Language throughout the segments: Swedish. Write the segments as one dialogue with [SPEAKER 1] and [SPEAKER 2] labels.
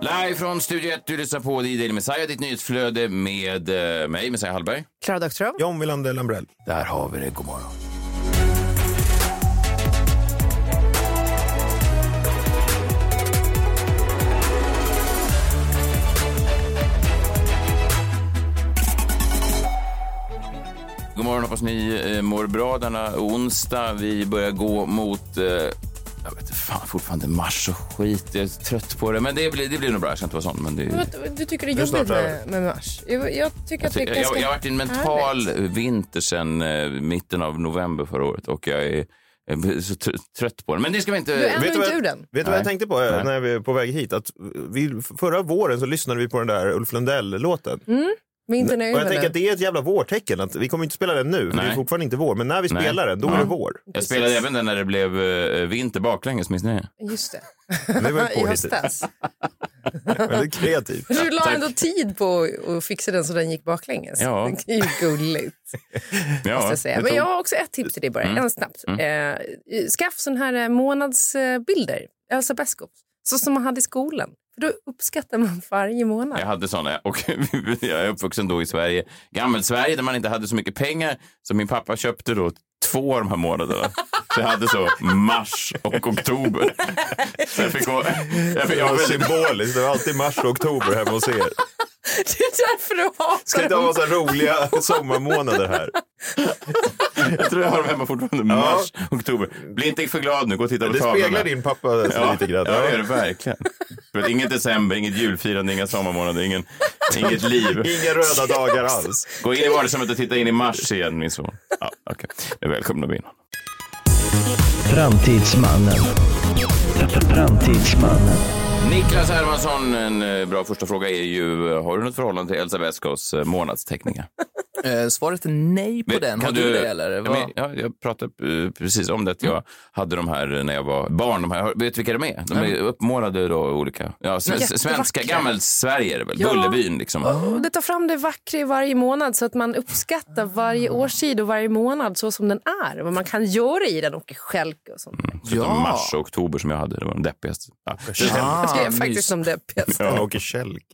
[SPEAKER 1] Live från Studio 1, du lyssnar på D-Daily Messiah, ditt nyhetsflöde med eh, mig, Messiah Hallberg.
[SPEAKER 2] Klara Doktorow.
[SPEAKER 3] John Wilander Lambrell.
[SPEAKER 1] Där har vi det, god morgon. God morgon, hoppas ni eh, mår bra denna onsdag. Vi börjar gå mot, eh, jag vet inte, fan, fortfarande mars och skit. Jag är trött på det, men det blir, det blir nog bra. Jag ska inte vara sån. Men det,
[SPEAKER 2] Vad- Du tycker det är
[SPEAKER 3] Det är
[SPEAKER 2] jobbigt
[SPEAKER 3] snart
[SPEAKER 2] med, med mars? Jag, jag tycker att det är
[SPEAKER 1] Alltså, jag, jag,
[SPEAKER 2] ganska
[SPEAKER 1] jag har varit i en mental vinter sedan eh, mitten av november förra året och jag är, jag är så tr- trött på den. Men det ska vi inte...
[SPEAKER 2] Du är ändå
[SPEAKER 3] du vad
[SPEAKER 2] inte
[SPEAKER 3] jag-
[SPEAKER 2] ur den.
[SPEAKER 3] Vet du vad
[SPEAKER 1] Nej.
[SPEAKER 3] jag tänkte på eh,
[SPEAKER 1] Nej.
[SPEAKER 3] när vi är på väg hit? Att vi, förra våren så lyssnade vi på den där Ulf Lundell-låten.
[SPEAKER 2] Vintern är
[SPEAKER 3] Och jag
[SPEAKER 2] över
[SPEAKER 3] tänker
[SPEAKER 2] nu.
[SPEAKER 3] att det är ett jävla vårtecken. Att vi kommer inte spela den nu, för det
[SPEAKER 1] Nej.
[SPEAKER 3] är fortfarande inte vår. Men när vi
[SPEAKER 1] Nej.
[SPEAKER 3] spelar den, då
[SPEAKER 1] Ja.
[SPEAKER 3] är det vår.
[SPEAKER 1] Jag spelade även den när det blev eh, vinter baklänges, minns ni det?
[SPEAKER 2] Just det.
[SPEAKER 3] Det var ju
[SPEAKER 2] I
[SPEAKER 3] påhittigt.
[SPEAKER 2] höstas.
[SPEAKER 3] Väldigt kreativt.
[SPEAKER 2] Du la ändå tid på att- att fixa den så den gick baklänges.
[SPEAKER 1] Ja.
[SPEAKER 2] Det är ju gulligt. måste jag säga.
[SPEAKER 1] det
[SPEAKER 2] Men
[SPEAKER 1] tog-
[SPEAKER 2] jag har också ett tips till dig bara, en snabbt. Eh, skaff sån här eh, månadsbilder, Elsa Beskow, så som man hade i skolan. För då uppskattar man varje månad.
[SPEAKER 1] Jag hade såna och jag är uppvuxen då i Sverige, Gammelsverige där man inte hade så mycket pengar så min pappa köpte då två av de här månaderna. Så jag hade så mars och oktober. Så jag fick gå... Jag fick,
[SPEAKER 3] Det
[SPEAKER 1] jag var
[SPEAKER 3] var
[SPEAKER 1] väldigt,
[SPEAKER 3] symboliskt. Det var alltid mars och oktober hemma hos er.
[SPEAKER 2] Det är därför du
[SPEAKER 3] Ska
[SPEAKER 2] hatar
[SPEAKER 3] inte ha
[SPEAKER 2] dem.
[SPEAKER 3] massa roliga sommarmånader här.
[SPEAKER 1] jag tror jag har dem hemma fortfarande. Mars, oktober. Bli inte för glad nu, gå och titta på
[SPEAKER 3] Det
[SPEAKER 1] tavlorna.
[SPEAKER 3] speglar din pappa lite grann.
[SPEAKER 1] Ja, det gör det verkligen. Du vet, inget december, inget julfirande, inga sommarmånader, ingen, inget liv.
[SPEAKER 3] Inga röda dagar alls.
[SPEAKER 1] Gå in i vardagsrummet och titta in i mars igen, min son. Ja, okay. Välkomna in.
[SPEAKER 4] Framtidsmannen. Framtidsmannen.
[SPEAKER 1] Niklas Hermansson, en eh, bra första fråga är ju, eh, har du något förhållande till Elsa Vescos eh, månadsteckningar?
[SPEAKER 5] Eh, svaret är nej på den. Har du det eller?
[SPEAKER 1] Ja,
[SPEAKER 5] Vad- Mm.
[SPEAKER 1] men, ja, jag pratade eh, precis om det, att jag hade de här eh, när jag var barn. De här, har- vet du vilka de är? De är uppmålade då olika, ja, s- s- svenska,
[SPEAKER 2] Jättevackra.
[SPEAKER 1] gammelsverige är det väl?
[SPEAKER 2] Ja.
[SPEAKER 1] Bullerbyn liksom.
[SPEAKER 2] Det tar fram det vackra i varje månad så att man uppskattar varje årstid och varje månad så som den är. Vad man kan göra i den och skälka och sånt.
[SPEAKER 1] Förutom
[SPEAKER 5] Ja.
[SPEAKER 1] mars och oktober som jag hade, det var de deppigaste. Ja.
[SPEAKER 5] Ah,
[SPEAKER 2] Det är
[SPEAKER 5] mys.
[SPEAKER 2] faktiskt som deppigast.
[SPEAKER 3] Ja, och kälk.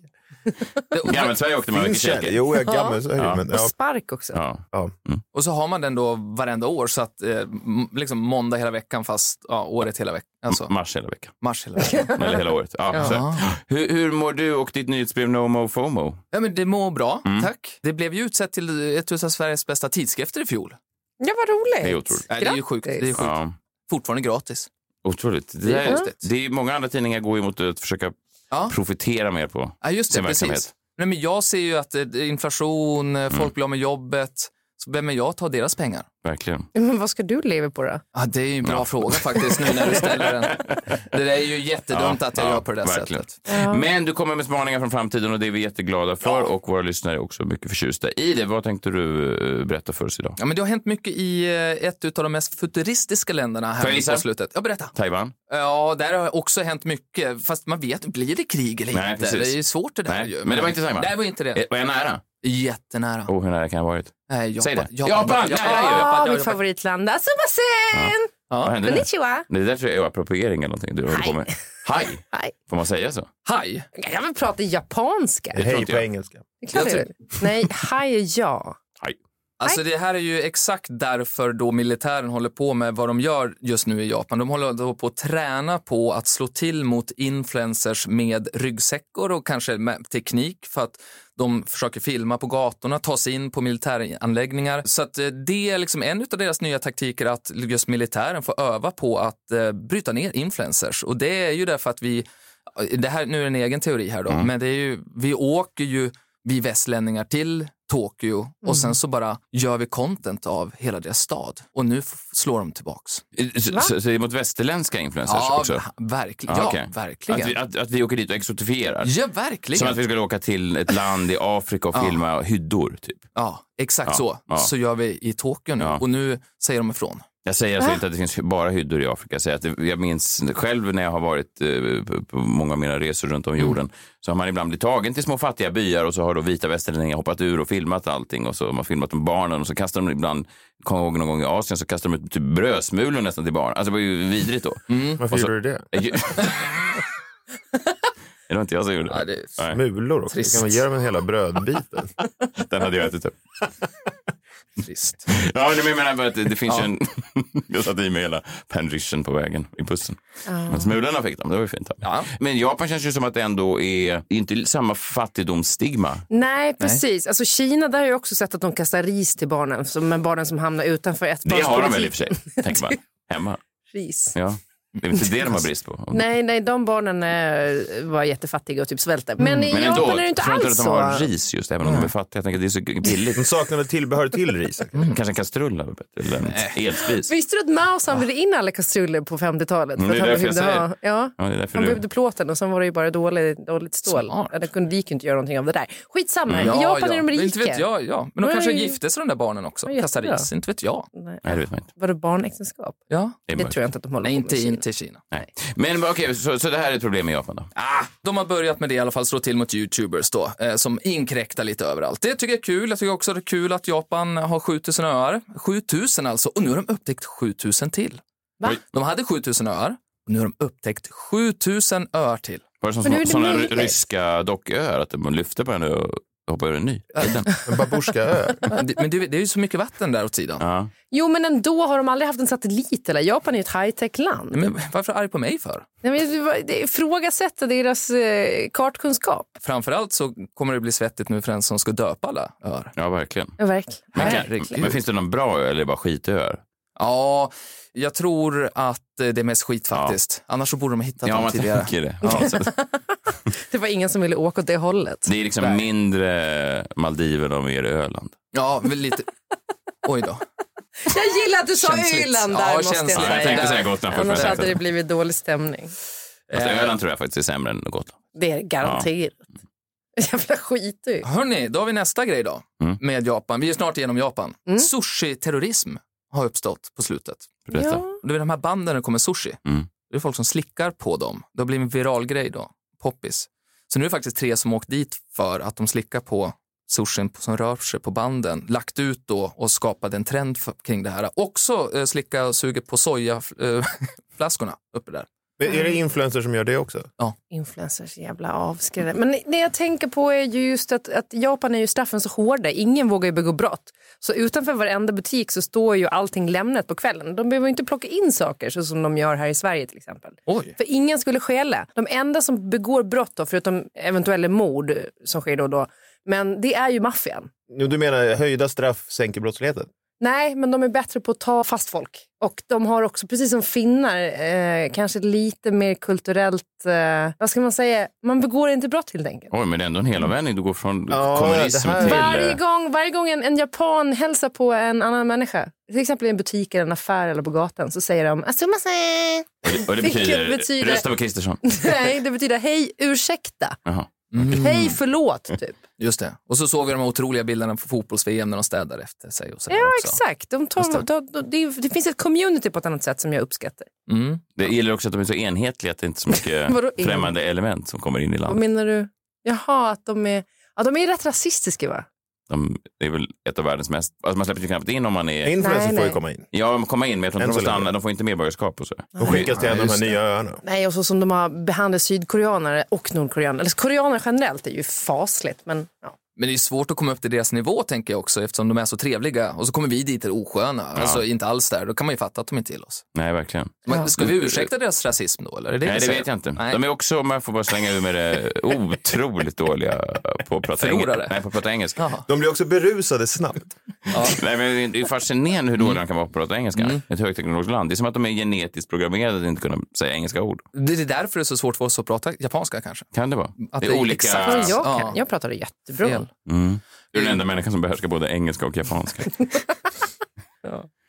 [SPEAKER 1] Gammelsverige åkte man mycket kälke.
[SPEAKER 3] Jo, jag är gammal. Så är det, men,
[SPEAKER 2] Och
[SPEAKER 3] ja,
[SPEAKER 2] spark också.
[SPEAKER 1] Ja.
[SPEAKER 3] ja.
[SPEAKER 5] Och så har man den då varenda år, så att eh, m- liksom måndag hela veckan fast ja, året hela veckan. Alltså
[SPEAKER 1] Mars hela veckan.
[SPEAKER 5] mars hela veckan.
[SPEAKER 1] Eller hela året. Ja, så. Hur, hur mår du och ditt nyhetsbrev No Mo FOMO?
[SPEAKER 5] Ja, men det mår bra,
[SPEAKER 1] Mm.
[SPEAKER 5] tack. Det blev ju utsett till ett av Sveriges bästa tidskrifter i fjol.
[SPEAKER 2] Ja, vad roligt.
[SPEAKER 1] Det är otroligt.
[SPEAKER 5] Nej, det är ju sjukt. Det är
[SPEAKER 2] Grattis.
[SPEAKER 5] sjukt.
[SPEAKER 1] Ja.
[SPEAKER 5] Fortfarande gratis.
[SPEAKER 1] Otroligt. Det, är,
[SPEAKER 5] just det.
[SPEAKER 1] det är många andra tidningar går ju mot att försöka
[SPEAKER 5] Ja.
[SPEAKER 1] profitera mer på.
[SPEAKER 5] Ja, just det,
[SPEAKER 1] sin verksamhet. Mm.
[SPEAKER 5] precis. Nej, men jag ser ju att eh, inflation, eh, folk blir av med jobbet. Så vem är jag att ta deras pengar?
[SPEAKER 1] Verkligen.
[SPEAKER 2] Men vad ska du leva på då?
[SPEAKER 5] Ja, det är ju en bra fråga faktiskt nu när du ställer den. Det där är ju jättedumt att jag
[SPEAKER 1] ja,
[SPEAKER 5] gör på det där
[SPEAKER 1] verkligen.
[SPEAKER 5] sättet.
[SPEAKER 1] Men du kommer med spaningar från framtiden och det är vi jätteglada för och våra lyssnare är också mycket förtjusta i det. Vad tänkte du eh, berätta för oss idag?
[SPEAKER 5] Ja, men det har hänt mycket i eh, ett av de mest futuristiska länderna
[SPEAKER 1] Får jag
[SPEAKER 5] här nu
[SPEAKER 1] gissa?
[SPEAKER 5] på slutet. Ja, berätta. Eh,
[SPEAKER 1] Taiwan?
[SPEAKER 5] Ja, där har också hänt mycket. Fast man vet, blir det krig eller
[SPEAKER 1] Nej,
[SPEAKER 5] inte?
[SPEAKER 1] precis.
[SPEAKER 5] Det är ju svårt det där
[SPEAKER 1] Nej,
[SPEAKER 5] ju.
[SPEAKER 1] men det var inte Taiwan.
[SPEAKER 5] Nej, det var inte
[SPEAKER 1] Eh,
[SPEAKER 5] det.
[SPEAKER 1] Var jag nära?
[SPEAKER 5] Jättenära.
[SPEAKER 1] Oh, hur nära kan jag ha varit?
[SPEAKER 5] Nej, Japan.
[SPEAKER 1] Säg det.
[SPEAKER 5] Japan.
[SPEAKER 1] Japan!
[SPEAKER 5] Japan.
[SPEAKER 1] Nej, jag gör.
[SPEAKER 5] Japan.
[SPEAKER 2] Ah,
[SPEAKER 5] Japan.
[SPEAKER 2] mitt favoritland. Assumasen!
[SPEAKER 1] Vad hände nu?
[SPEAKER 2] Konnichiwa!
[SPEAKER 1] Det där tror jag är appropriering eller någonting du håller på med. Haj!
[SPEAKER 2] Hej.
[SPEAKER 1] Får man säga så?
[SPEAKER 5] Haj.
[SPEAKER 2] Jag kan väl prata japanska? Det
[SPEAKER 3] Hej på engelska.
[SPEAKER 2] är klart
[SPEAKER 5] Jag
[SPEAKER 2] jag vill. Nej, haj är ja.
[SPEAKER 1] Haj.
[SPEAKER 5] Alltså det här är ju exakt därför då militären håller på med vad de gör just nu i Japan. De håller då på att träna på att slå till mot influencers med ryggsäckor och kanske med teknik för att de försöker filma på gatorna, ta sig in på militäranläggningar. Så att eh, det är liksom en av deras nya taktiker att just militären får öva på att eh, bryta ner influencers. Och det är ju därför att vi eh,
[SPEAKER 1] Mm.
[SPEAKER 5] det här, nu är det en egen teori här då, men det är ju, vi åker ju, vi västlänningar till Tokyo
[SPEAKER 1] Mm.
[SPEAKER 5] och sen så bara gör vi content av hela deras stad. Och nu f- slår de tillbaks.
[SPEAKER 1] Så, så det är mot västerländska influencers också?
[SPEAKER 5] ha- verkligen.
[SPEAKER 1] Ah,
[SPEAKER 5] ja,
[SPEAKER 1] okej.
[SPEAKER 5] verkligen.
[SPEAKER 1] Att vi, att, att vi åker dit och exotifierar?
[SPEAKER 5] ja, verkligen.
[SPEAKER 1] Som att vi skulle åka till ett land i Afrika och filma hyddor, typ.
[SPEAKER 5] Ja, exakt
[SPEAKER 1] Ja,
[SPEAKER 5] så.
[SPEAKER 1] ja.
[SPEAKER 5] Så gör vi i Tokyo nu.
[SPEAKER 1] Ja.
[SPEAKER 5] Och nu säger de ifrån.
[SPEAKER 1] Jag säger alltså inte att det finns bara hyddor i Afrika. Jag, säger att det, jag minns själv när jag har varit eh, på- på många av mina resor runt om
[SPEAKER 5] Mm.
[SPEAKER 1] jorden så har man ibland blivit tagen till små fattiga byar och så har då vita västerlänningar hoppat ur och filmat allting och så har man filmat med barnen och så kastar de ibland, kommer jag ihåg någon gång i Asien, så kastar de ut typ brödsmulor nästan till barnen. Alltså det var ju vidrigt då.
[SPEAKER 5] Mm.
[SPEAKER 3] Varför
[SPEAKER 1] Och så-
[SPEAKER 3] gjorde du det?
[SPEAKER 1] Jag- det var inte jag som gjorde
[SPEAKER 5] Ja,
[SPEAKER 1] det.
[SPEAKER 5] det är
[SPEAKER 1] Nej,
[SPEAKER 3] Mulor också.
[SPEAKER 5] Trist.
[SPEAKER 3] Kan man ge dem en hela brödbiten?
[SPEAKER 1] den hade jag ätit upp.
[SPEAKER 5] trist.
[SPEAKER 1] Ja, men jag menar bara att det, det finns ju en... jag satte i mig hela panrischen på vägen i bussen.
[SPEAKER 2] Ah.
[SPEAKER 1] Men smulorna fick de, det var ju fint.
[SPEAKER 5] Ja.
[SPEAKER 1] Men Japan känns ju som att det ändå är det är inte samma fattigdomsstigma.
[SPEAKER 2] Nej, precis. Alltså, Kina, där har jag också sett att de kastar ris till barnen. så- Men barnen som hamnar utanför ett
[SPEAKER 1] Det har de väl i och för sig, tänker man. Hemma.
[SPEAKER 2] Ris.
[SPEAKER 1] Ja. Det är väl inte det de har brist på.
[SPEAKER 2] Nej, nej, de barnen eh, var jättefattiga och typ svälter. Men i
[SPEAKER 1] Mm. Men ändå,
[SPEAKER 2] Japan är det inte
[SPEAKER 1] tror inte
[SPEAKER 2] alls
[SPEAKER 1] att de
[SPEAKER 2] så.
[SPEAKER 1] har ris just, även om de är fattiga. Jag tänker att det är så billigt.
[SPEAKER 3] De Liksom saknar väl tillbehör till ris?
[SPEAKER 2] Mm.
[SPEAKER 1] Kanske en kastrull hade varit bättre, eller en elspis.
[SPEAKER 2] Visste du att Mao samlade in alla kastruller på 50-talet?
[SPEAKER 1] Mm, det är
[SPEAKER 2] att han
[SPEAKER 1] därför jag
[SPEAKER 2] behövde
[SPEAKER 1] säger.
[SPEAKER 2] ha- Ja.
[SPEAKER 1] Ja, det är därför
[SPEAKER 2] Han
[SPEAKER 1] du...
[SPEAKER 2] behövde plåten och sen var det ju bara dålig, dåligt stål.
[SPEAKER 5] Smart.
[SPEAKER 2] Ja, Det kunde, gick ju inte att göra någonting av det där.
[SPEAKER 1] Mm.
[SPEAKER 2] Skitsamma, i
[SPEAKER 5] Ja,
[SPEAKER 2] Japan
[SPEAKER 5] ja.
[SPEAKER 2] är de
[SPEAKER 5] Men
[SPEAKER 2] rika.
[SPEAKER 5] Inte vet jag, ja. Men de
[SPEAKER 2] Nej.
[SPEAKER 5] kanske gifte sig de där barnen också.
[SPEAKER 2] Ja,
[SPEAKER 5] Kastar
[SPEAKER 2] jättebra.
[SPEAKER 5] ris, inte vet jag.
[SPEAKER 2] Nej.
[SPEAKER 1] Nej, det vet man inte.
[SPEAKER 2] Var det barnäktenskap?
[SPEAKER 5] Ja.
[SPEAKER 1] är
[SPEAKER 2] Det
[SPEAKER 1] mörkt.
[SPEAKER 2] tror jag inte att de håller på med.
[SPEAKER 5] Nej, inte
[SPEAKER 2] i Kina.
[SPEAKER 5] in till Kina.
[SPEAKER 1] Nej. Men okej, så, så det här är ett problem i Japan då?
[SPEAKER 5] Ah, de har börjat med det i alla fall, slå till mot youtubers då, eh, som inkräktar lite överallt. Det tycker jag är kul. Jag tycker också det är kul att Japan har 7000 öar. 7000 alltså, och nu har de upptäckt 7000 till.
[SPEAKER 2] Va?
[SPEAKER 1] Oj.
[SPEAKER 5] De hade 7000 öar, och nu har de upptäckt 7000 öar till.
[SPEAKER 1] Var det som
[SPEAKER 2] Men hur är
[SPEAKER 1] såna,
[SPEAKER 2] det
[SPEAKER 1] såna ry-
[SPEAKER 2] möjligt?
[SPEAKER 1] ryska docköar, att man lyfte på en ö och hoppade över en ny? Är det den?
[SPEAKER 3] En babusjkaö?
[SPEAKER 5] Men det, men det, det är ju så mycket vatten där åt sidan.
[SPEAKER 1] Ja.
[SPEAKER 2] Jo, men ändå har de aldrig haft en satellit. Eller? Japan är ju ett high-tech-land.
[SPEAKER 1] Mm.
[SPEAKER 5] Men varför är du arg på mig för?
[SPEAKER 2] Nej, men det var- det- Ifrågasätta deras eh, kartkunskap.
[SPEAKER 5] Framförallt så kommer det bli svettigt nu för den som ska döpa alla öar.
[SPEAKER 1] ja, verkligen.
[SPEAKER 2] Ja, verkligen.
[SPEAKER 1] Men, kan,
[SPEAKER 5] Herregud.
[SPEAKER 1] men finns det någon bra ö eller är det bara skitöar?
[SPEAKER 5] Ja, jag tror att eh, det är mest skit faktiskt. Annars så borde de ha hittat
[SPEAKER 1] Ja,
[SPEAKER 5] dem
[SPEAKER 1] man
[SPEAKER 5] tidigare.
[SPEAKER 1] tänker det. Ja, så att
[SPEAKER 2] Det var ingen som ville åka åt det hållet.
[SPEAKER 1] det är liksom mindre Maldiverna och mer Öland.
[SPEAKER 5] Ja, väl lite... Oj då.
[SPEAKER 2] Jag gillar att du sa
[SPEAKER 5] Känsligt.
[SPEAKER 2] Öland
[SPEAKER 5] Ja,
[SPEAKER 2] där, måste jag
[SPEAKER 5] känsligt.
[SPEAKER 1] Ja, jag
[SPEAKER 2] säga.
[SPEAKER 1] tänkte säga Gotland först. men
[SPEAKER 2] Annars
[SPEAKER 1] jag
[SPEAKER 2] hade
[SPEAKER 1] tänkte-
[SPEAKER 2] det blivit dålig stämning.
[SPEAKER 1] Fast Alltså, Öland tror jag faktiskt är sämre än Gotland.
[SPEAKER 2] Det är garanterat. Mm. Jävla skit du.
[SPEAKER 5] Hörni, då har vi nästa grej då
[SPEAKER 1] Mm.
[SPEAKER 5] med Japan. Vi är snart igenom Japan.
[SPEAKER 2] Mm.
[SPEAKER 5] Sushi-terrorism har uppstått på slutet.
[SPEAKER 1] Berätta.
[SPEAKER 5] Du vet de här banden när det kommer sushi.
[SPEAKER 1] Mm.
[SPEAKER 5] Det är folk som slickar på dem. Det har blivit en viral grej då. Poppis. Så nu är det faktiskt tre som åkt dit för att de slickar på sushin som rör sig på banden. Lagt ut då och skapat en trend för, kring det här. Också eh, slicka och suger på sojaflaskorna uppe där.
[SPEAKER 3] Men är det influencers som gör det också?
[SPEAKER 2] Influencers jävla avskräckta. Men det jag tänker på är ju just att, att Japan är ju straffen så hårda. Ingen vågar ju begå brott. Så utanför varenda butik så står ju allting lämnat på kvällen. De behöver ju inte plocka in saker så som de gör här i Sverige till exempel.
[SPEAKER 5] Oj.
[SPEAKER 2] För ingen skulle stjäla. De enda som begår brott då, förutom eventuella mord som sker då och då, men det är ju maffian.
[SPEAKER 3] Jo, Du menar höjda straff sänker brottsligheten?
[SPEAKER 2] Nej, men de är bättre på att ta fast folk. Och de har också, precis som finnar, eh, kanske lite mer kulturellt, eh, vad ska man säga, man begår inte brott helt enkelt.
[SPEAKER 1] Oj, men det är ändå en helomvändning. Du går från
[SPEAKER 3] Ja,
[SPEAKER 1] kommunism
[SPEAKER 3] det här-
[SPEAKER 1] till... eh,
[SPEAKER 2] Varje gång, varje gång en, en japan hälsar på en annan människa, till exempel i en butik, eller en affär eller på gatan, så säger de "Asumase."
[SPEAKER 1] Och det
[SPEAKER 2] Vilket
[SPEAKER 1] betyder,
[SPEAKER 2] betyder-
[SPEAKER 1] Rösta på Kristersson.
[SPEAKER 2] Nej, det betyder hej, ursäkta,
[SPEAKER 1] Jaha. Mm.
[SPEAKER 2] hej, förlåt, typ.
[SPEAKER 5] Just det. Och så såg vi de här otroliga bilderna på fotbolls-VM när de städar efter sig. Och så där
[SPEAKER 2] Ja,
[SPEAKER 5] också.
[SPEAKER 2] exakt. De tar, de, de, det, det finns ett community på ett annat sätt som jag uppskattar.
[SPEAKER 5] Mm.
[SPEAKER 1] Det gillar också att de är så enhetliga att det inte är så
[SPEAKER 2] Vadå
[SPEAKER 1] mycket främmande element som kommer in i
[SPEAKER 2] Vad
[SPEAKER 1] landet.
[SPEAKER 2] menar du? Jaha, att de är... Ja, de är rätt rasistiska, va?
[SPEAKER 1] De, det är väl ett av världens mest... Alltså man släpper ju knappt in om man är...
[SPEAKER 3] Influencers
[SPEAKER 2] Nej,
[SPEAKER 3] får ju
[SPEAKER 2] nej.
[SPEAKER 3] komma in.
[SPEAKER 1] Ja, de kommer in, men jag tror
[SPEAKER 3] Än
[SPEAKER 1] inte de
[SPEAKER 3] så
[SPEAKER 1] får
[SPEAKER 3] länge. Oh.
[SPEAKER 1] stanna. De får inte medborgarskap och så.
[SPEAKER 3] De skickas till en av de
[SPEAKER 5] just
[SPEAKER 3] här nya öarna.
[SPEAKER 2] Nej, och så som de har behandlat sydkoreaner och nordkoreaner. Eller koreaner generellt är ju fasligt, men ja.
[SPEAKER 5] Men det är svårt att komma upp till deras nivå tänker jag också eftersom de är så trevliga och så kommer vi dit och är osköna. Alltså inte alls där, då kan man ju fatta att de inte gillar oss.
[SPEAKER 1] Nej, verkligen.
[SPEAKER 5] Men, ska vi ursäkta deras rasism då eller? Är
[SPEAKER 1] Nej,
[SPEAKER 5] vi
[SPEAKER 1] det
[SPEAKER 5] säger?
[SPEAKER 1] vet jag inte.
[SPEAKER 5] Nej.
[SPEAKER 1] De är också, om jag får bara slänga ur med det, otroligt dåliga på att prata, enge-
[SPEAKER 5] Förlorare.
[SPEAKER 1] Nej, på att prata engelska.
[SPEAKER 5] Jaha.
[SPEAKER 3] De blir också berusade snabbt.
[SPEAKER 1] Nej, men det är fascinerande hur dåliga de kan vara på att prata engelska.
[SPEAKER 5] Mm.
[SPEAKER 1] Ett högteknologiskt land. Det är som att de är genetiskt programmerade att inte kunna säga engelska ord.
[SPEAKER 5] Det är därför det är så svårt för oss att prata japanska kanske.
[SPEAKER 1] Kan det vara?
[SPEAKER 5] Att
[SPEAKER 1] det
[SPEAKER 5] det
[SPEAKER 1] är
[SPEAKER 5] är
[SPEAKER 1] olika...
[SPEAKER 5] exakt-
[SPEAKER 2] Men jag,
[SPEAKER 5] ja.
[SPEAKER 2] kan, jag pratar jättebra.
[SPEAKER 5] Fel.
[SPEAKER 1] Mm. Du är den enda människan som behärskar både engelska och japanska.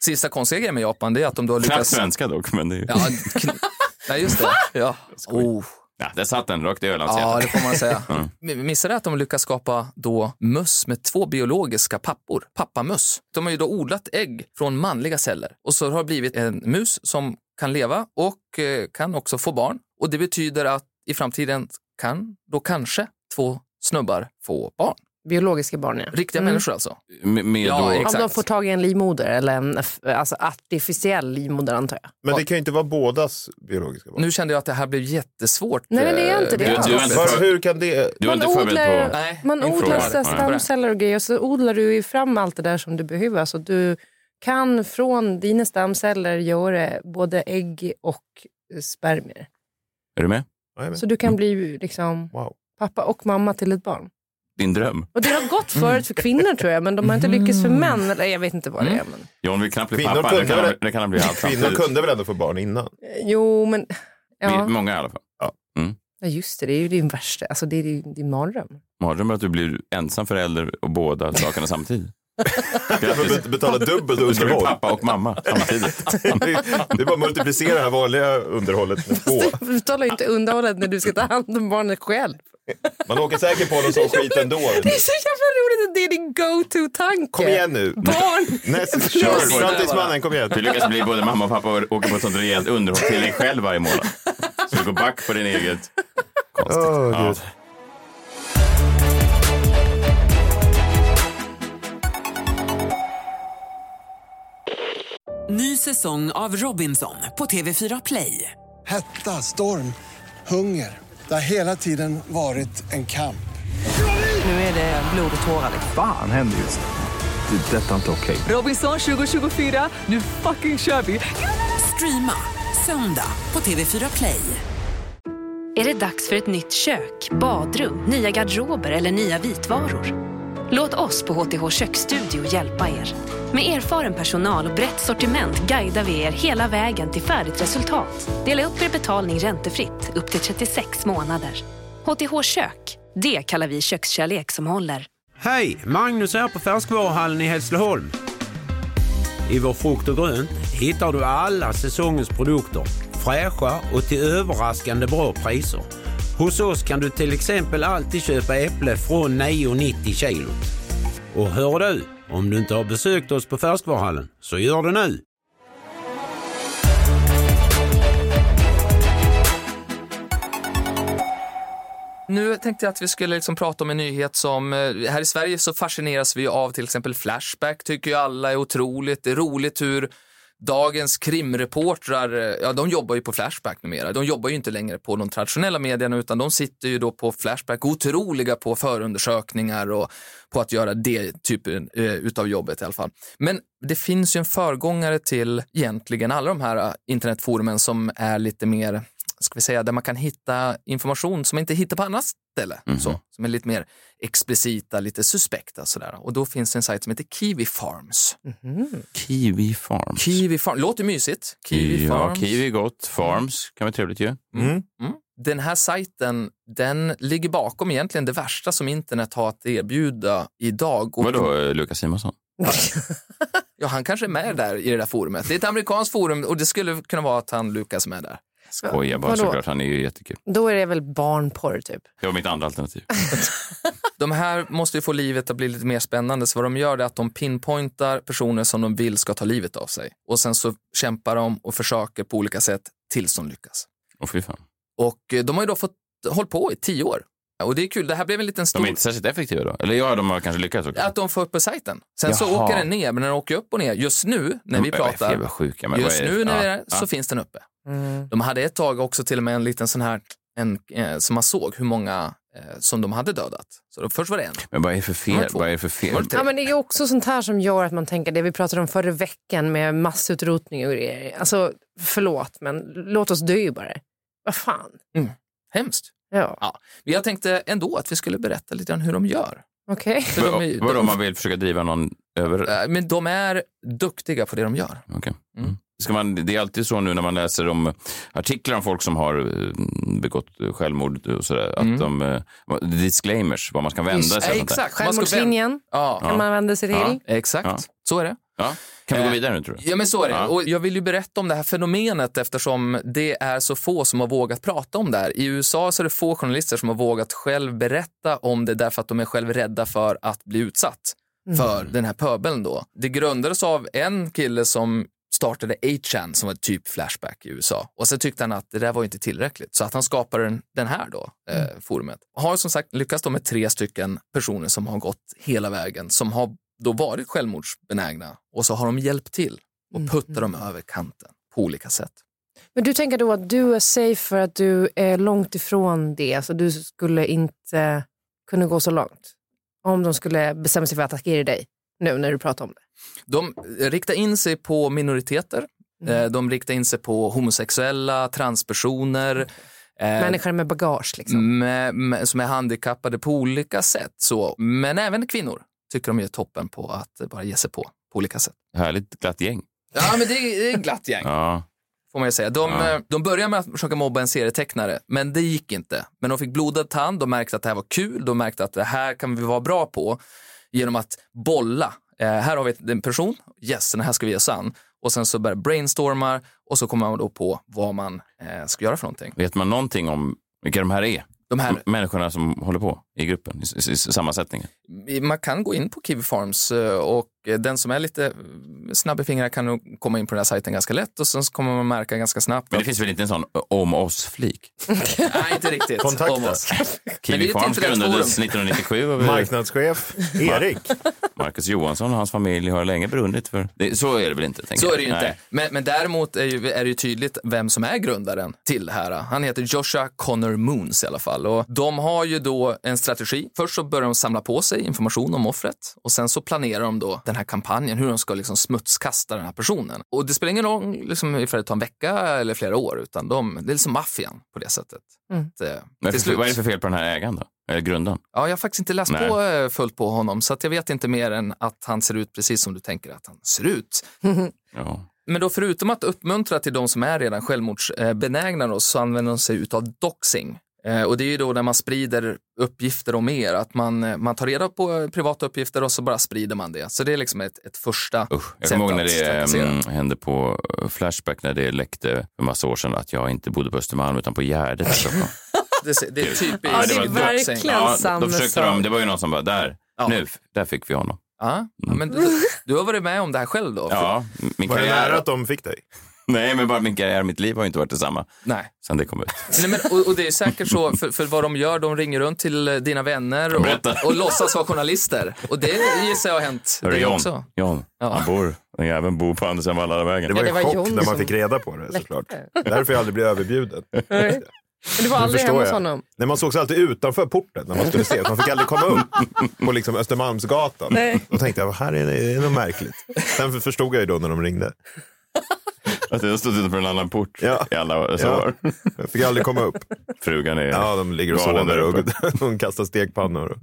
[SPEAKER 5] Sista konstiga grejen med Japan det är att om du har
[SPEAKER 1] Knappt
[SPEAKER 5] lyckats...
[SPEAKER 1] svenska dock, men det är ju...
[SPEAKER 5] Ja, kn... Nej, just det. Ja. Oh.
[SPEAKER 1] Ja, där satt den rakt i
[SPEAKER 5] ja,
[SPEAKER 1] Ölandshjärtat.
[SPEAKER 5] det får man säga.
[SPEAKER 1] Ja.
[SPEAKER 5] M- Missade att de lyckas skapa då möss med två biologiska pappor, pappamöss. De har ju då odlat ägg från manliga celler och så har det blivit en mus som kan leva och eh, kan också få barn. Och det betyder att i framtiden kan då kanske två snubbar få barn.
[SPEAKER 2] Biologiska barn, ja. Mm.
[SPEAKER 5] Riktiga människor alltså.
[SPEAKER 1] Med, med
[SPEAKER 5] Ja,
[SPEAKER 1] då...
[SPEAKER 5] exakt.
[SPEAKER 2] Om de får tag i en livmoder, eller en f- alltså artificiell livmoder antar jag.
[SPEAKER 3] Men det kan ju inte vara bådas biologiska barn.
[SPEAKER 5] Nu kände jag att det här blev jättesvårt.
[SPEAKER 2] Nej, men det är
[SPEAKER 5] eh,
[SPEAKER 2] inte det
[SPEAKER 5] vetenskap.
[SPEAKER 1] Du- du är inte-
[SPEAKER 3] Var, hur kan det...
[SPEAKER 1] Du var
[SPEAKER 2] Man
[SPEAKER 1] inte förberedd
[SPEAKER 2] odlar-
[SPEAKER 1] på...
[SPEAKER 5] Nej,
[SPEAKER 2] Man
[SPEAKER 5] min fråga
[SPEAKER 2] odlar
[SPEAKER 5] var-
[SPEAKER 2] så här stamceller och grejer, så odlar du ju fram allt det där som du behöver. Så du kan från dina stamceller göra både ägg och eh, spermier.
[SPEAKER 1] Är du med?
[SPEAKER 3] Ja, jag vet.
[SPEAKER 2] Så du
[SPEAKER 5] Mm.
[SPEAKER 2] kan bli liksom
[SPEAKER 3] Wow.
[SPEAKER 2] pappa och mamma till ett barn.
[SPEAKER 1] Din dröm?
[SPEAKER 2] Och det har gått förut för kvinnor tror jag, men de har inte lyckats för män. Eller jag vet inte vad det är.
[SPEAKER 3] Mm.
[SPEAKER 2] Men...
[SPEAKER 1] John vill knappt bli
[SPEAKER 3] Kvinnor
[SPEAKER 1] pappa. Det
[SPEAKER 3] kunde
[SPEAKER 1] kan, han,
[SPEAKER 3] väl-
[SPEAKER 1] det kan han bli allt
[SPEAKER 3] Kvinnor kunde väl ändå få barn innan?
[SPEAKER 2] Eh, Jo, men...
[SPEAKER 1] Vi-
[SPEAKER 2] Ja.
[SPEAKER 1] Många i alla fall.
[SPEAKER 2] ja, just det. Det är ju din värsta, alltså det är din, din mardröm.
[SPEAKER 1] Mardröm är att du blir ensam förälder och båda sakerna samtidigt. Grattis.
[SPEAKER 3] Bet- Betala dubbelt
[SPEAKER 1] Du ska bli
[SPEAKER 3] underhåll.
[SPEAKER 1] pappa och mamma samtidigt.
[SPEAKER 3] Det är bara att multiplicera det här vanliga underhållet med två.
[SPEAKER 2] Du betalar ju inte underhållet när du ska ta hand om barnet själv.
[SPEAKER 3] Man åker säkert på någon sån skit ändå.
[SPEAKER 2] Det är så jävla roligt att det är din go-to-tanke.
[SPEAKER 3] Kom igen nu.
[SPEAKER 2] Barn!
[SPEAKER 3] Näst,
[SPEAKER 2] Kör
[SPEAKER 3] kör.
[SPEAKER 2] på
[SPEAKER 5] det där
[SPEAKER 3] Framtidsmannen, kom igen.
[SPEAKER 1] Du lyckas bli både mamma och pappa och åker på ett sånt rejält underhåll till dig själv varje månad. Så du går back på din eget. Konstigt.
[SPEAKER 3] Åh,
[SPEAKER 1] Ja.
[SPEAKER 3] Gud.
[SPEAKER 6] Ny säsong av Robinson på TV4 Play.
[SPEAKER 4] Hetta, storm, hunger. Det har hela tiden varit en kamp.
[SPEAKER 6] Nu är det blod och tårar.
[SPEAKER 7] Fan händer just nu. det. är Detta är inte okej.
[SPEAKER 6] Robinson 2024, nu fucking kör vi! Streama söndag på TV4 Play.
[SPEAKER 8] är det dags för ett nytt kök, badrum, nya garderober eller nya vitvaror. Låt oss på HTH Köksstudio hjälpa er. Med erfaren personal och brett sortiment guidar vi er hela vägen till färdigt resultat. Dela upp er betalning räntefritt upp till 36 månader. HTH Kök, det kallar vi kökskärlek som håller.
[SPEAKER 9] Hej! Magnus här på Färskvaruhallen i Hässleholm. I vår frukt och grönt hittar du alla säsongens produkter fräscha och till överraskande bra priser. Hos oss kan du till exempel alltid köpa äpple från 9,90 kilo. Och hör du, om du inte har besökt oss på Färskvaruhallen så gör det nu!
[SPEAKER 5] Nu tänkte jag att vi skulle liksom prata om en nyhet som, eh, här i Sverige så fascineras vi av till exempel Flashback, tycker ju alla är otroligt, det är roligt hur dagens krimreportrar, eh, ja de jobbar ju på Flashback numera, de jobbar ju inte längre på de traditionella medierna utan de sitter ju då på Flashback, otroliga på förundersökningar och på att göra det typen eh, utav jobbet i alla fall. Men det finns ju en förgångare till egentligen alla de här eh, internetforumen som är lite mer ska vi säga, där man kan hitta information som man inte hittar på annat ställe.
[SPEAKER 1] Mhm.
[SPEAKER 5] Så, som är lite mer explicita, lite suspekta. Sådär. Och då finns det en sajt som heter Kiwi Farms.
[SPEAKER 1] Kiwi Farms.
[SPEAKER 5] Kiwi Farm, låter mysigt. Kiwi
[SPEAKER 1] Ja,
[SPEAKER 5] Farms. Mm.
[SPEAKER 1] kiwi gott. Farms kan vara trevligt ju.
[SPEAKER 5] Den här sajten, den ligger bakom egentligen det värsta som internet har att erbjuda idag. Och
[SPEAKER 1] Vadå, eh, Lukas Simonsson?
[SPEAKER 5] Ja, han kanske är med där i det där forumet. Det är ett amerikanskt forum och det skulle kunna vara att han Lukas är med där.
[SPEAKER 1] Skojar bara
[SPEAKER 2] Vadå?
[SPEAKER 1] såklart, han är ju jättekul.
[SPEAKER 2] Då är det väl barnporr typ.
[SPEAKER 1] Det var mitt andra alternativ.
[SPEAKER 5] De här måste ju få livet att bli lite mer spännande, så vad de gör är att de pinpointar personer som de vill ska ta livet av sig. Och sen så kämpar de och försöker på olika sätt tills de lyckas.
[SPEAKER 1] Åh fy fan.
[SPEAKER 5] Och eh, de har ju då fått hålla på i tio år. Och det är kul, det här blev en liten
[SPEAKER 1] De
[SPEAKER 5] stor...
[SPEAKER 1] är inte särskilt effektiva då? Eller ja, de har kanske lyckats också.
[SPEAKER 5] Att de får upp på sajten. Sen så
[SPEAKER 1] Jaha.
[SPEAKER 5] åker den ner, men den åker upp och ner. Just nu när vi
[SPEAKER 1] Men vad är det för
[SPEAKER 5] pratar,
[SPEAKER 1] jävla sjuka, men
[SPEAKER 5] just
[SPEAKER 1] vad är det-
[SPEAKER 5] nu när vi
[SPEAKER 1] ja,
[SPEAKER 5] är där, så
[SPEAKER 1] ja.
[SPEAKER 5] finns den uppe.
[SPEAKER 2] Mm.
[SPEAKER 5] De hade ett tag också till och med en liten sån här, en, eh, som man såg hur många eh, som de hade dödat. Så då, först var det en.
[SPEAKER 1] Men vad är det för
[SPEAKER 5] Nummer
[SPEAKER 1] fel?
[SPEAKER 5] två.
[SPEAKER 1] Vad är det för fel?
[SPEAKER 3] Typ.
[SPEAKER 5] Nummer tre.
[SPEAKER 2] Ja, men det är också sånt här som gör att man tänker det vi pratade om förra veckan med massutrotning och grejer. Alltså, förlåt, men låt oss dö bara. Vad fan.
[SPEAKER 5] Hemskt.
[SPEAKER 2] Ja,
[SPEAKER 5] Ja. Men jag tänkte ändå att vi skulle berätta lite om hur de gör.
[SPEAKER 2] okej.
[SPEAKER 5] För de äh, är, ju-
[SPEAKER 1] Vadå,
[SPEAKER 5] de,
[SPEAKER 1] man vill försöka driva någon över...
[SPEAKER 5] eh, men de är duktiga på det de gör.
[SPEAKER 1] Okej. Mm. Ska man, det är alltid så nu när man läser om eh, artiklar om folk som har eh, begått självmord och sådär, att de, eh, disclaimers, vad man ska vända sig och sånt
[SPEAKER 5] Ja,
[SPEAKER 1] där.
[SPEAKER 5] Mm. exakt. Man ska vända-
[SPEAKER 2] Självmordslinjen
[SPEAKER 5] Ja,
[SPEAKER 2] kan man vända sig till.
[SPEAKER 5] exakt.
[SPEAKER 1] Ja.
[SPEAKER 5] Så är det.
[SPEAKER 1] Ja. Kan vi gå
[SPEAKER 5] Eh,
[SPEAKER 1] vidare nu tror du?
[SPEAKER 5] Ja, men så är det.
[SPEAKER 1] Ja.
[SPEAKER 5] Och jag vill ju berätta om det här fenomenet eftersom det är så få som har vågat prata om det här. I USA så är det få journalister som har vågat själv berätta om det därför att de är själv rädda för att bli utsatt
[SPEAKER 1] Mm.
[SPEAKER 5] för den här pöbeln då. Det grundades av en kille som startade 8chan som var typ Flashback i USA. Och sen tyckte han att det där var ju inte tillräckligt så att han skapade den, den här då,
[SPEAKER 1] Mm.
[SPEAKER 5] eh, forumet. Har som sagt lyckats då med tre stycken personer som har gått hela vägen, som har då varit självmordsbenägna och så har de hjälpt till och puttar dem över kanten på olika sätt.
[SPEAKER 2] Men du tänker då att du är safe för att du är långt ifrån det. Alltså du skulle inte kunna gå så långt. Om de skulle bestämma sig för att attackera dig nu när du pratar om det.
[SPEAKER 5] De eh, riktar in sig på minoriteter, eh, de riktar in sig på homosexuella, transpersoner, eh, Mm.
[SPEAKER 2] Människor med bagage liksom.
[SPEAKER 5] med, med, som är handikappade på olika sätt. Så, men även kvinnor tycker de är toppen på att bara ge sig på, på olika sätt.
[SPEAKER 1] Härligt glatt gäng.
[SPEAKER 5] Ja, men det är, det är ett glatt gäng.
[SPEAKER 1] Ja.
[SPEAKER 5] får man ju säga. De,
[SPEAKER 1] Ja.
[SPEAKER 5] eh, de började med att försöka mobba en serietecknare, men det gick inte. Men de fick blodad tand, de märkte att det här var kul, de märkte att det här kan vi vara bra på genom att bolla. Eh, här har vi ett- en person, yes, den här ska vi ge oss an. Och sen så börjar brainstormar och så kommer man då på vad man eh, ska göra för någonting.
[SPEAKER 1] Vet man någonting om vilka de här är?
[SPEAKER 5] De här,
[SPEAKER 1] M- Människorna som håller på i gruppen, i, s- i, s- sammansättningen.
[SPEAKER 5] man kan gå in på Kiwi Farms eh, och eh, den som är lite eh, snabb i fingrarna kan nog komma in på den här sajten ganska lätt och sen så kommer man märka ganska snabbt.
[SPEAKER 1] Men det finns väl inte en sån ö, om oss-flik?
[SPEAKER 5] Nej, inte riktigt.
[SPEAKER 3] Kontakta.
[SPEAKER 5] Om oss. Men det är
[SPEAKER 1] Kiwi
[SPEAKER 5] ett
[SPEAKER 1] Farms grundades
[SPEAKER 5] internetforum.
[SPEAKER 1] 1997 av eh,
[SPEAKER 3] Marknadschef Erik.
[SPEAKER 1] Marcus Johansson och hans familj har länge brunnit för... Det, så är det väl inte? tänker
[SPEAKER 5] Så
[SPEAKER 1] jag.
[SPEAKER 5] är det ju inte.
[SPEAKER 1] Nej.
[SPEAKER 5] Men, men däremot är, ju, är det ju tydligt vem som är grundaren till det här. Han heter Joshua Connor Moons i alla fall. Och de har ju då en strategi. Först så börjar de samla på sig information om offret och sen så planerar de då den här kampanjen, hur de ska liksom smutskasta den här personen. Och det spelar ingen roll liksom, ifall det tar en vecka eller flera år, utan de, det är liksom maffian på det sättet.
[SPEAKER 2] Mm.
[SPEAKER 5] Att, eh,
[SPEAKER 1] Vad är, det
[SPEAKER 5] till
[SPEAKER 1] för, vad är det
[SPEAKER 5] slut-
[SPEAKER 1] för fel på den här ägaren då? Eller grundaren?
[SPEAKER 5] Ja, jag har faktiskt inte läst
[SPEAKER 1] Nej.
[SPEAKER 5] på eh, fullt på honom, så att jag vet inte mer än att han ser ut precis som du tänker att han ser ut.
[SPEAKER 1] Ja.
[SPEAKER 5] Men då förutom att uppmuntra till de som är redan självmordsbenägna då, så använder de sig utav doxing. Eh, Och det är ju då när man sprider uppgifter om er, att man, eh, man tar reda på eh, privata uppgifter och så bara sprider man det. Så det är liksom ett, ett första
[SPEAKER 1] Usch. Jag
[SPEAKER 5] sätt
[SPEAKER 1] kommer ihåg när
[SPEAKER 5] att
[SPEAKER 1] det
[SPEAKER 5] trakassera.
[SPEAKER 1] mm, hände på eh, Flashback när det läckte för massa år sedan att jag inte bodde på Östermalm utan på Gärdet här i Stockholm.
[SPEAKER 5] Det, ser- det är typ typiskt
[SPEAKER 2] Ja,
[SPEAKER 1] det är
[SPEAKER 2] verkligen.
[SPEAKER 5] Ja,
[SPEAKER 1] ja,
[SPEAKER 2] samma
[SPEAKER 1] då försökte de,
[SPEAKER 2] sak.
[SPEAKER 1] det var ju någon som bara, där,
[SPEAKER 5] Ja.
[SPEAKER 1] nu, där fick vi honom.
[SPEAKER 5] ja, men du, du har varit med om det här själv då?
[SPEAKER 1] Mm. Ja, m- min
[SPEAKER 3] Var det nära
[SPEAKER 1] karriär,
[SPEAKER 3] att de fick dig?
[SPEAKER 1] nej men bara min karriär, mitt liv har ju inte varit detsamma
[SPEAKER 5] Nej.
[SPEAKER 1] sen det kom ut.
[SPEAKER 5] Nej, men, och, och det är säkert så, för, för vad de gör, de ringer runt till eh, dina vänner
[SPEAKER 1] Berätta.
[SPEAKER 5] och, och låtsas vara journalister. Och det gissar jag har hänt
[SPEAKER 1] Hörru
[SPEAKER 5] dig
[SPEAKER 1] John,
[SPEAKER 5] också.
[SPEAKER 1] John
[SPEAKER 5] Ja.
[SPEAKER 1] han bor, den jäveln bor på Andersen
[SPEAKER 3] Det
[SPEAKER 1] vägen.
[SPEAKER 3] var
[SPEAKER 2] Ja,
[SPEAKER 3] ju
[SPEAKER 2] det var
[SPEAKER 3] chock
[SPEAKER 2] John
[SPEAKER 3] när man
[SPEAKER 2] som
[SPEAKER 3] fick reda på det
[SPEAKER 2] läckte.
[SPEAKER 3] såklart. Därför jag aldrig blev överbjuden.
[SPEAKER 2] Men du var aldrig hemma
[SPEAKER 3] förstår
[SPEAKER 2] hos
[SPEAKER 3] jag.
[SPEAKER 2] honom.
[SPEAKER 3] Nej, man sågs alltid utanför porten när man skulle ses. Man fick aldrig komma upp på liksom Östermalmsgatan.
[SPEAKER 2] Nej.
[SPEAKER 3] Då tänkte jag, "Vad här är det, är det något märkligt. Sen förstod jag ju då när de ringde.
[SPEAKER 1] Att jag har stått utanför en annan port
[SPEAKER 3] Ja.
[SPEAKER 1] i alla år.
[SPEAKER 3] Ja. Jag fick aldrig komma upp.
[SPEAKER 1] Frugan är...
[SPEAKER 3] Ja, de ligger och
[SPEAKER 1] Galen
[SPEAKER 3] sover
[SPEAKER 1] där
[SPEAKER 3] och
[SPEAKER 1] uppe.
[SPEAKER 3] de kastar stekpannor.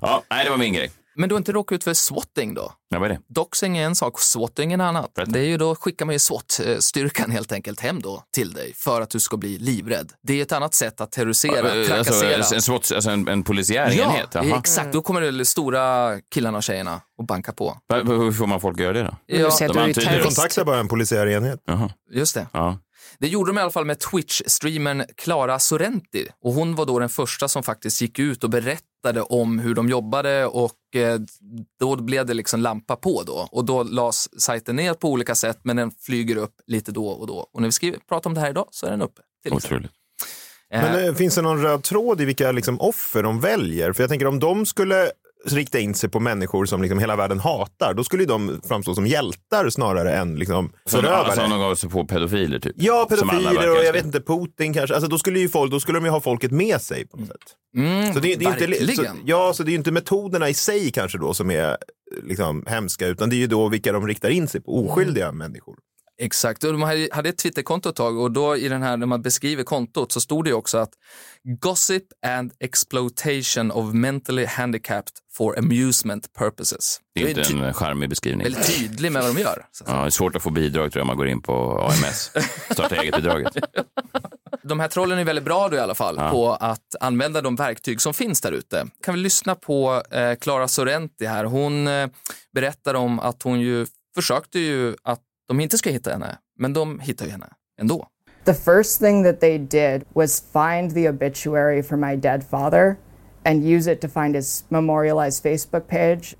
[SPEAKER 1] Ja, nej, det var min grej.
[SPEAKER 5] Men du har inte råkat ut för swatting då?
[SPEAKER 1] Ja, vad är det?
[SPEAKER 5] Doxing är en sak, swatting är en annan.
[SPEAKER 1] Berätta.
[SPEAKER 5] Det är ju då skickar man ju SWAT-styrkan helt enkelt hem då till dig för att du ska bli livrädd. Det är ett annat sätt att terrorisera, trakassera.
[SPEAKER 1] Alltså, en, SWAT, alltså en, en polisiär
[SPEAKER 5] ja,
[SPEAKER 1] enhet? Jaha.
[SPEAKER 5] exakt. Då kommer de stora killarna och tjejerna och banka på.
[SPEAKER 1] Va- va- Hur får man folk att göra det då?
[SPEAKER 2] Men du
[SPEAKER 5] Ja,
[SPEAKER 2] ser att
[SPEAKER 1] de
[SPEAKER 2] du är ju
[SPEAKER 1] antyder det.
[SPEAKER 2] terrorist.
[SPEAKER 3] Kontakta bara en polisiär enhet.
[SPEAKER 1] Jaha.
[SPEAKER 5] just det.
[SPEAKER 1] Ja.
[SPEAKER 5] Det gjorde de i alla fall med Twitch-streamern Clara Sorrenti. Och hon var då den första som faktiskt gick ut och berättade om hur de jobbade och eh, då blev det liksom lampa på då. Och då lades sajten ner på olika sätt men den flyger upp lite då och då. Och när vi skriver, pratar om det här idag så är den uppe. Till exempel.
[SPEAKER 1] Otroligt.
[SPEAKER 5] Eh,
[SPEAKER 3] Men eh, finns det någon röd tråd i vilka liksom, offer de väljer? För jag tänker om de skulle rikta in sig på människor som liksom hela världen hatar, då skulle ju de framstå som hjältar snarare än liksom,
[SPEAKER 1] Som,
[SPEAKER 3] förövare.
[SPEAKER 1] alltså, de gav sig på pedofiler typ?
[SPEAKER 3] Ja,
[SPEAKER 1] Som alla
[SPEAKER 3] pedofiler
[SPEAKER 1] verkar
[SPEAKER 3] och jag
[SPEAKER 1] älska.
[SPEAKER 3] vet inte, Putin kanske. Alltså, då, skulle ju folk, då skulle de ju ha folket med sig på något sätt.
[SPEAKER 5] Mm,
[SPEAKER 3] Så det, är- det är ju inte, så,
[SPEAKER 5] verkligen.
[SPEAKER 3] ja, så det är ju inte metoderna i sig
[SPEAKER 1] Mm.
[SPEAKER 3] kanske då som är eh, liksom, hemska, utan det är ju då vilka de riktar in sig på, oskyldiga människor.
[SPEAKER 5] Exakt, och de hade- hade ett Twitterkonto ett tag och då i den här, när man beskriver kontot så stod det ju också att gossip and exploitation of mentally handicapped for amusement purposes.
[SPEAKER 1] Det är
[SPEAKER 5] ju
[SPEAKER 1] inte
[SPEAKER 5] ty-
[SPEAKER 1] en charmig beskrivning.
[SPEAKER 5] väldigt tydlig med vad de gör. Så att-
[SPEAKER 1] Ja, det är svårt att få bidrag tror jag om man går in på AMS. Starta eget-bidraget.
[SPEAKER 5] De här trollen är väldigt bra då i alla fall
[SPEAKER 1] Ja.
[SPEAKER 5] på att använda de verktyg som finns där ute. Kan vi lyssna på eh, Clara Sorrenti här. Hon eh, berättar om att hon ju försökte ju att de inte ska hitta henne, men de hittar ju henne ändå.
[SPEAKER 10] The first thing that they did was find the obituary for my dead father and use it to find his memorialized Facebook page.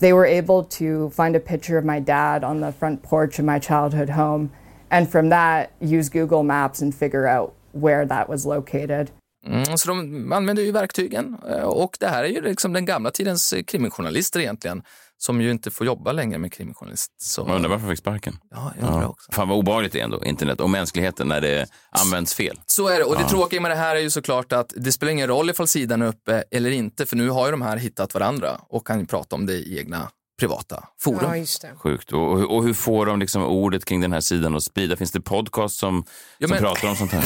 [SPEAKER 10] They were able to find a picture of my dad on the front porch of my childhood home, and from that, use Google Maps and figure out where that was located.
[SPEAKER 5] Mm, så de använder ju verktygen eh, och det här är ju liksom den gamla tidens eh, krimjournalister egentligen som ju inte får jobba längre med krimjournalist. Så,
[SPEAKER 1] Man undrar varför fick sparken.
[SPEAKER 5] ja, jag undrar också.
[SPEAKER 1] Fan vad obehagligt det är ändå, internet och mänskligheten när det används fel.
[SPEAKER 5] Så är det. Och det tråkiga med det här är ju såklart att det spelar ingen roll ifall sidan är uppe eller inte, för nu har ju de här hittat varandra och kan ju prata om det i egna privata forum.
[SPEAKER 2] Ja, just det.
[SPEAKER 1] Sjukt. Och, och, och hur får de liksom ordet kring den här sidan att sprida? Finns det podcast som,
[SPEAKER 5] Ja,
[SPEAKER 1] som
[SPEAKER 5] men-
[SPEAKER 1] pratar om sånt här?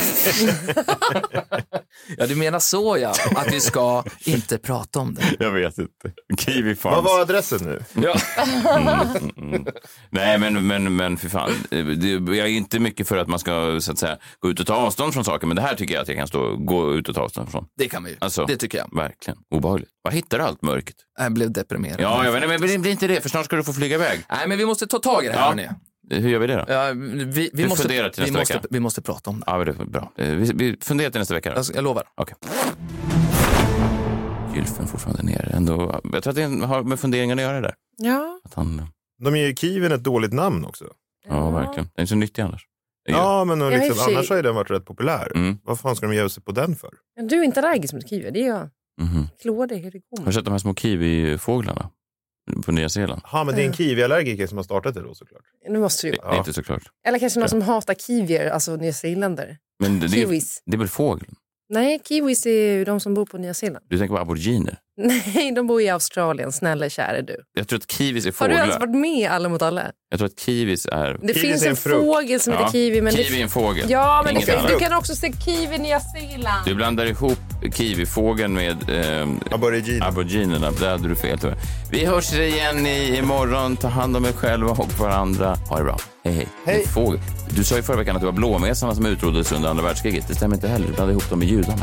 [SPEAKER 5] Ja, du menar så ja, att vi ska inte prata om det.
[SPEAKER 1] Jag vet inte. Kiwi
[SPEAKER 3] Vad
[SPEAKER 1] Farms.
[SPEAKER 3] var adressen nu?
[SPEAKER 1] Nej, men, men, men för fan. Eh, Det, jag är inte mycket för att man ska så att säga, gå ut och ta avstånd från saker, men det här tycker jag att jag kan stå, gå ut och ta avstånd från.
[SPEAKER 5] Det kan vi ju.
[SPEAKER 1] Alltså.
[SPEAKER 5] Det tycker jag.
[SPEAKER 1] Verkligen. Obehagligt. Vad hittar du allt mörkret?
[SPEAKER 5] Jag blev deprimerad.
[SPEAKER 1] Ja, jag vet inte, men det blir inte det, för snart ska du få flyga iväg.
[SPEAKER 5] Nej, men vi måste ta tag i det här.
[SPEAKER 1] Ja.
[SPEAKER 5] hörni.
[SPEAKER 1] Hur gör vi det då?
[SPEAKER 5] Ja, vi, vi,
[SPEAKER 1] Vi
[SPEAKER 5] måste,
[SPEAKER 1] funderar till
[SPEAKER 5] vi,
[SPEAKER 1] nästa
[SPEAKER 5] måste,
[SPEAKER 1] vecka.
[SPEAKER 5] vi måste prata om det.
[SPEAKER 1] Ja,
[SPEAKER 5] Alltså,
[SPEAKER 1] men det är bra. Eh, Vi, vi funderar till nästa vecka. Då.
[SPEAKER 5] Jag, jag lovar.
[SPEAKER 1] Okej. Gylfen fortfarande ner. Ändå, jag tror att det har med funderingarna att göra där.
[SPEAKER 2] Ja.
[SPEAKER 1] Att han,
[SPEAKER 3] De ger ju Kiven ett dåligt namn också.
[SPEAKER 1] ja, verkligen. Den är så nyttig annars.
[SPEAKER 3] Ja, men och
[SPEAKER 2] Ja, i och
[SPEAKER 3] liksom,
[SPEAKER 2] för sig.
[SPEAKER 3] annars har ju den varit rätt populär.
[SPEAKER 1] Mm.
[SPEAKER 3] Vad fan ska de ge sig på den för?
[SPEAKER 2] Men Du är inte allergisk mot kiwi, det är jag.
[SPEAKER 1] Mhm.
[SPEAKER 2] Klå dig hur det
[SPEAKER 1] Har
[SPEAKER 2] går.
[SPEAKER 1] du sett de här små kiwifåglarna på Nya Zeeland?
[SPEAKER 3] Ja, men det är
[SPEAKER 2] Eh.
[SPEAKER 3] en kiwiallergiker som har startat det då såklart.
[SPEAKER 2] Nu måste du.
[SPEAKER 1] Det, det är inte såklart.
[SPEAKER 2] Eller kanske någon som hatar kiwier, alltså nyzeeländare.
[SPEAKER 1] Men det, det, är,
[SPEAKER 2] Kiwis.
[SPEAKER 1] det är väl fågeln?
[SPEAKER 2] Nej, kiwis är ju de som bor på Nya Zeeland.
[SPEAKER 1] Du tänker på aboriginer?
[SPEAKER 2] Nej, de bor i Australien. Snälla käre du.
[SPEAKER 1] Jag tror att kiwis är
[SPEAKER 2] Har du
[SPEAKER 1] fåglar.
[SPEAKER 2] ens varit med i Alla mot alla?
[SPEAKER 1] Jag tror att kiwis är...
[SPEAKER 2] Det
[SPEAKER 3] Kiwis
[SPEAKER 2] finns
[SPEAKER 3] är
[SPEAKER 2] en,
[SPEAKER 3] en frukt.
[SPEAKER 2] fågel som heter kiwi. Men
[SPEAKER 1] kiwi är
[SPEAKER 2] det...
[SPEAKER 1] en fågel.
[SPEAKER 2] Ja, men det
[SPEAKER 1] Inget
[SPEAKER 2] finns...
[SPEAKER 1] annat.
[SPEAKER 2] du kan också se kiwi i Nya Zeeland.
[SPEAKER 1] Du blandar ihop kiwifågeln med ehm,
[SPEAKER 3] Aborigine.
[SPEAKER 1] aboriginerna. Där hade du fel tyvärr. Vi hörs igen i, imorgon. Ta hand om er själva och varandra. Ha det bra. Hej, hej. En Fågel. Du sa ju förra veckan att det var blåmesarna som utroddes under andra världskriget. Det stämmer inte heller. Du blandade ihop dem med judarna.